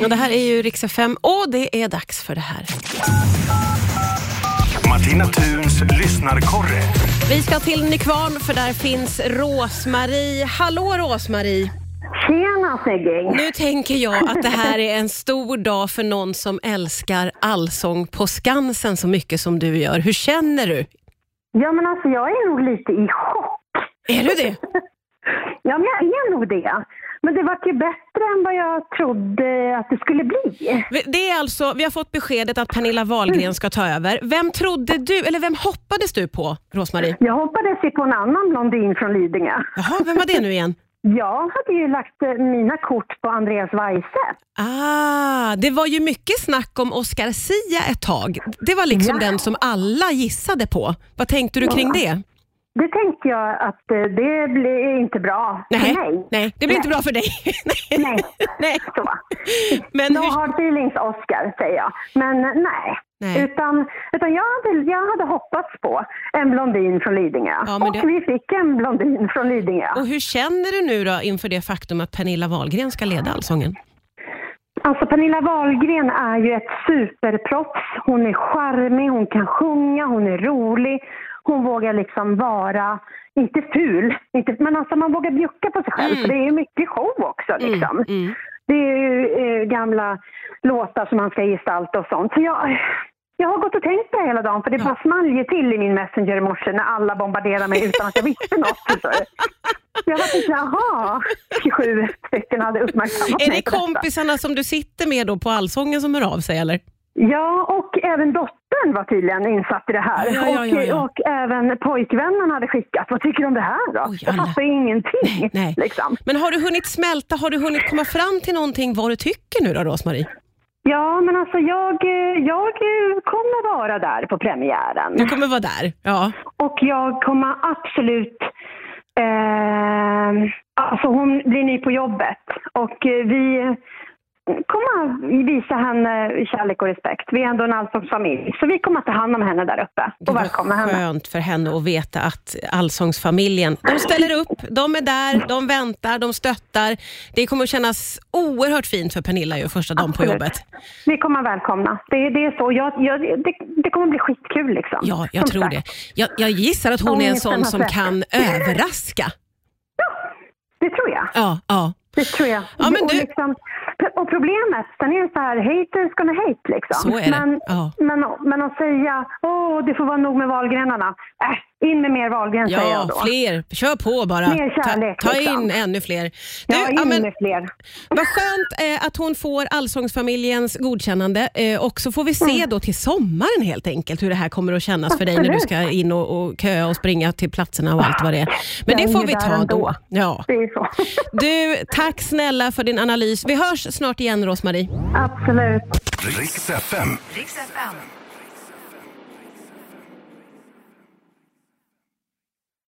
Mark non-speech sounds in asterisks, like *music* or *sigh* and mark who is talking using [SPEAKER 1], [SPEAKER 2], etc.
[SPEAKER 1] Och det här är ju Rix FM och det är dags för det här.
[SPEAKER 2] Martina Thuns lyssnarkorre.
[SPEAKER 1] Vi ska till Nykvarn för där finns Rosmarie. Hallå Rosmarie!
[SPEAKER 3] Tjena snygging!
[SPEAKER 1] Nu tänker jag att det här är en stor dag för någon som älskar Allsång på Skansen så mycket som du gör. Hur känner du?
[SPEAKER 3] Ja men alltså jag är nog lite i chock.
[SPEAKER 1] Är du det?
[SPEAKER 3] Ja men jag är nog det. Men det vart ju bättre än vad jag trodde att det skulle bli.
[SPEAKER 1] Vi- Det är alltså, vi har fått beskedet att Pernilla Wahlgren ska ta över. Vem trodde du, eller vem hoppades du på, Rosmarie?
[SPEAKER 3] Jag hoppades ju på en annan blondin från Lidingö.
[SPEAKER 1] Jaha, vem var det nu igen?
[SPEAKER 3] Jag hade ju lagt eh, mina kort på Andreas Weise.
[SPEAKER 1] Ah, det var ju mycket snack om Oscar Sia ett tag. Det var liksom den som alla gissade på. Vad tänkte du kring det?
[SPEAKER 3] Det tänkte jag att eh, det blir inte bra för mig.
[SPEAKER 1] nej det blir inte bra för dig. *laughs*
[SPEAKER 3] Nej.
[SPEAKER 1] nej.
[SPEAKER 3] Så.
[SPEAKER 1] Men
[SPEAKER 3] No
[SPEAKER 1] hur,
[SPEAKER 3] hard feelings Oscar säger jag. Men eh, nej.
[SPEAKER 1] Nej.
[SPEAKER 3] Utan, utan jag, hade, jag hade hoppats på en blondin från Lidingö.
[SPEAKER 1] Ja, men
[SPEAKER 3] och
[SPEAKER 1] det-
[SPEAKER 3] vi fick en blondin från Lidingö.
[SPEAKER 1] och hur känner du nu då inför det faktum att Pernilla Wahlgren ska leda Allsången?
[SPEAKER 3] Alltså Pernilla Wahlgren är ju ett superproffs. Hon är charmig, hon kan sjunga, hon är rolig. Hon vågar liksom vara, inte ful, inte, men alltså man vågar bjucka på sig själv.
[SPEAKER 1] Mm.
[SPEAKER 3] Det är ju mycket show också liksom. Det är ju eh, gamla låtar som man ska gestalta och sånt. Så jag, jag har gått och tänkt på det hela dagen för det bara small ju till i min Messenger i morse när alla bombarderade mig utan att jag visste något. förstår
[SPEAKER 1] *laughs*
[SPEAKER 3] du. Jag var typ jaha, 27 stycken hade uppmärksammat
[SPEAKER 1] Är
[SPEAKER 3] mig
[SPEAKER 1] det
[SPEAKER 3] på detta.
[SPEAKER 1] kompisarna som du sitter med då på Allsången som hör av sig eller?
[SPEAKER 3] Ja, och även dottern var tydligen insatt i det här.
[SPEAKER 1] Ja, ja, ja, ja.
[SPEAKER 3] Och, och även pojkvännen hade skickat. Vad tycker du om det här då?
[SPEAKER 1] Oj,
[SPEAKER 3] jag
[SPEAKER 1] alla.
[SPEAKER 3] fattar ju ingenting.
[SPEAKER 1] Nej.
[SPEAKER 3] Liksom.
[SPEAKER 1] Men har du hunnit smälta, har du hunnit komma fram till någonting vad du tycker nu då Rosmarie?
[SPEAKER 3] Ja, men alltså jag, eh, jag eh, kommer vara där på premiären.
[SPEAKER 1] Du kommer vara där. Ja.
[SPEAKER 3] Och jag kommer absolut... Eh, alltså hon blir ny på jobbet och eh, vi kommer visa henne kärlek och respekt. Vi är ändå en allsångsfamilj, så vi kommer att ta hand om henne där uppe och välkomna
[SPEAKER 1] Det var
[SPEAKER 3] henne.
[SPEAKER 1] skönt för henne att veta att Allsångsfamiljen, de ställer upp, de är där, de väntar, de stöttar. Det kommer att kännas oerhört fint för Pernilla ju första dagen på
[SPEAKER 3] Absolut.
[SPEAKER 1] jobbet.
[SPEAKER 3] Vi kommer att välkomna. Det, det är så. Jag, jag, det, det kommer bli skitkul liksom.
[SPEAKER 1] Ja, jag
[SPEAKER 3] Som
[SPEAKER 1] tror
[SPEAKER 3] sagt,
[SPEAKER 1] det. Jag, jag gissar att hon är en
[SPEAKER 3] Ångesten
[SPEAKER 1] sån
[SPEAKER 3] har
[SPEAKER 1] som
[SPEAKER 3] släppt.
[SPEAKER 1] kan överraska.
[SPEAKER 3] Det tror jag.
[SPEAKER 1] Ja, ja.
[SPEAKER 3] Det tror jag.
[SPEAKER 1] Ja, men
[SPEAKER 3] och,
[SPEAKER 1] du-
[SPEAKER 3] liksom, och problemet, sen är det så här, haters gonna hate liksom.
[SPEAKER 1] Så är det.
[SPEAKER 3] Men,
[SPEAKER 1] Ja.
[SPEAKER 3] men, men att säga, åh det får vara nog med valgrenarna. Äh, in med mer valgren säger jag
[SPEAKER 1] Ja,
[SPEAKER 3] då.
[SPEAKER 1] fler. Kör på bara.
[SPEAKER 3] Mer kärlek,
[SPEAKER 1] ta, ta
[SPEAKER 3] liksom.
[SPEAKER 1] in ännu fler. Du,
[SPEAKER 3] ja, in
[SPEAKER 1] ja, men,
[SPEAKER 3] med fler.
[SPEAKER 1] vad skönt eh, att hon får Allsångsfamiljens godkännande eh, och så får vi
[SPEAKER 3] Mm.
[SPEAKER 1] se då till sommaren helt enkelt hur det här kommer att kännas för dig när du ska in och, och köa och springa till platserna och allt vad det är. Men
[SPEAKER 3] Jag
[SPEAKER 1] det
[SPEAKER 3] är
[SPEAKER 1] får
[SPEAKER 3] ju
[SPEAKER 1] vi
[SPEAKER 3] där
[SPEAKER 1] ta då.
[SPEAKER 3] ändå.
[SPEAKER 1] Ja.
[SPEAKER 3] Det är så. *laughs*
[SPEAKER 1] Du, tack snälla för din analys. Vi hörs snart igen Rosmarie.
[SPEAKER 3] Absolut.
[SPEAKER 2] Riks FM.
[SPEAKER 4] Riks FM.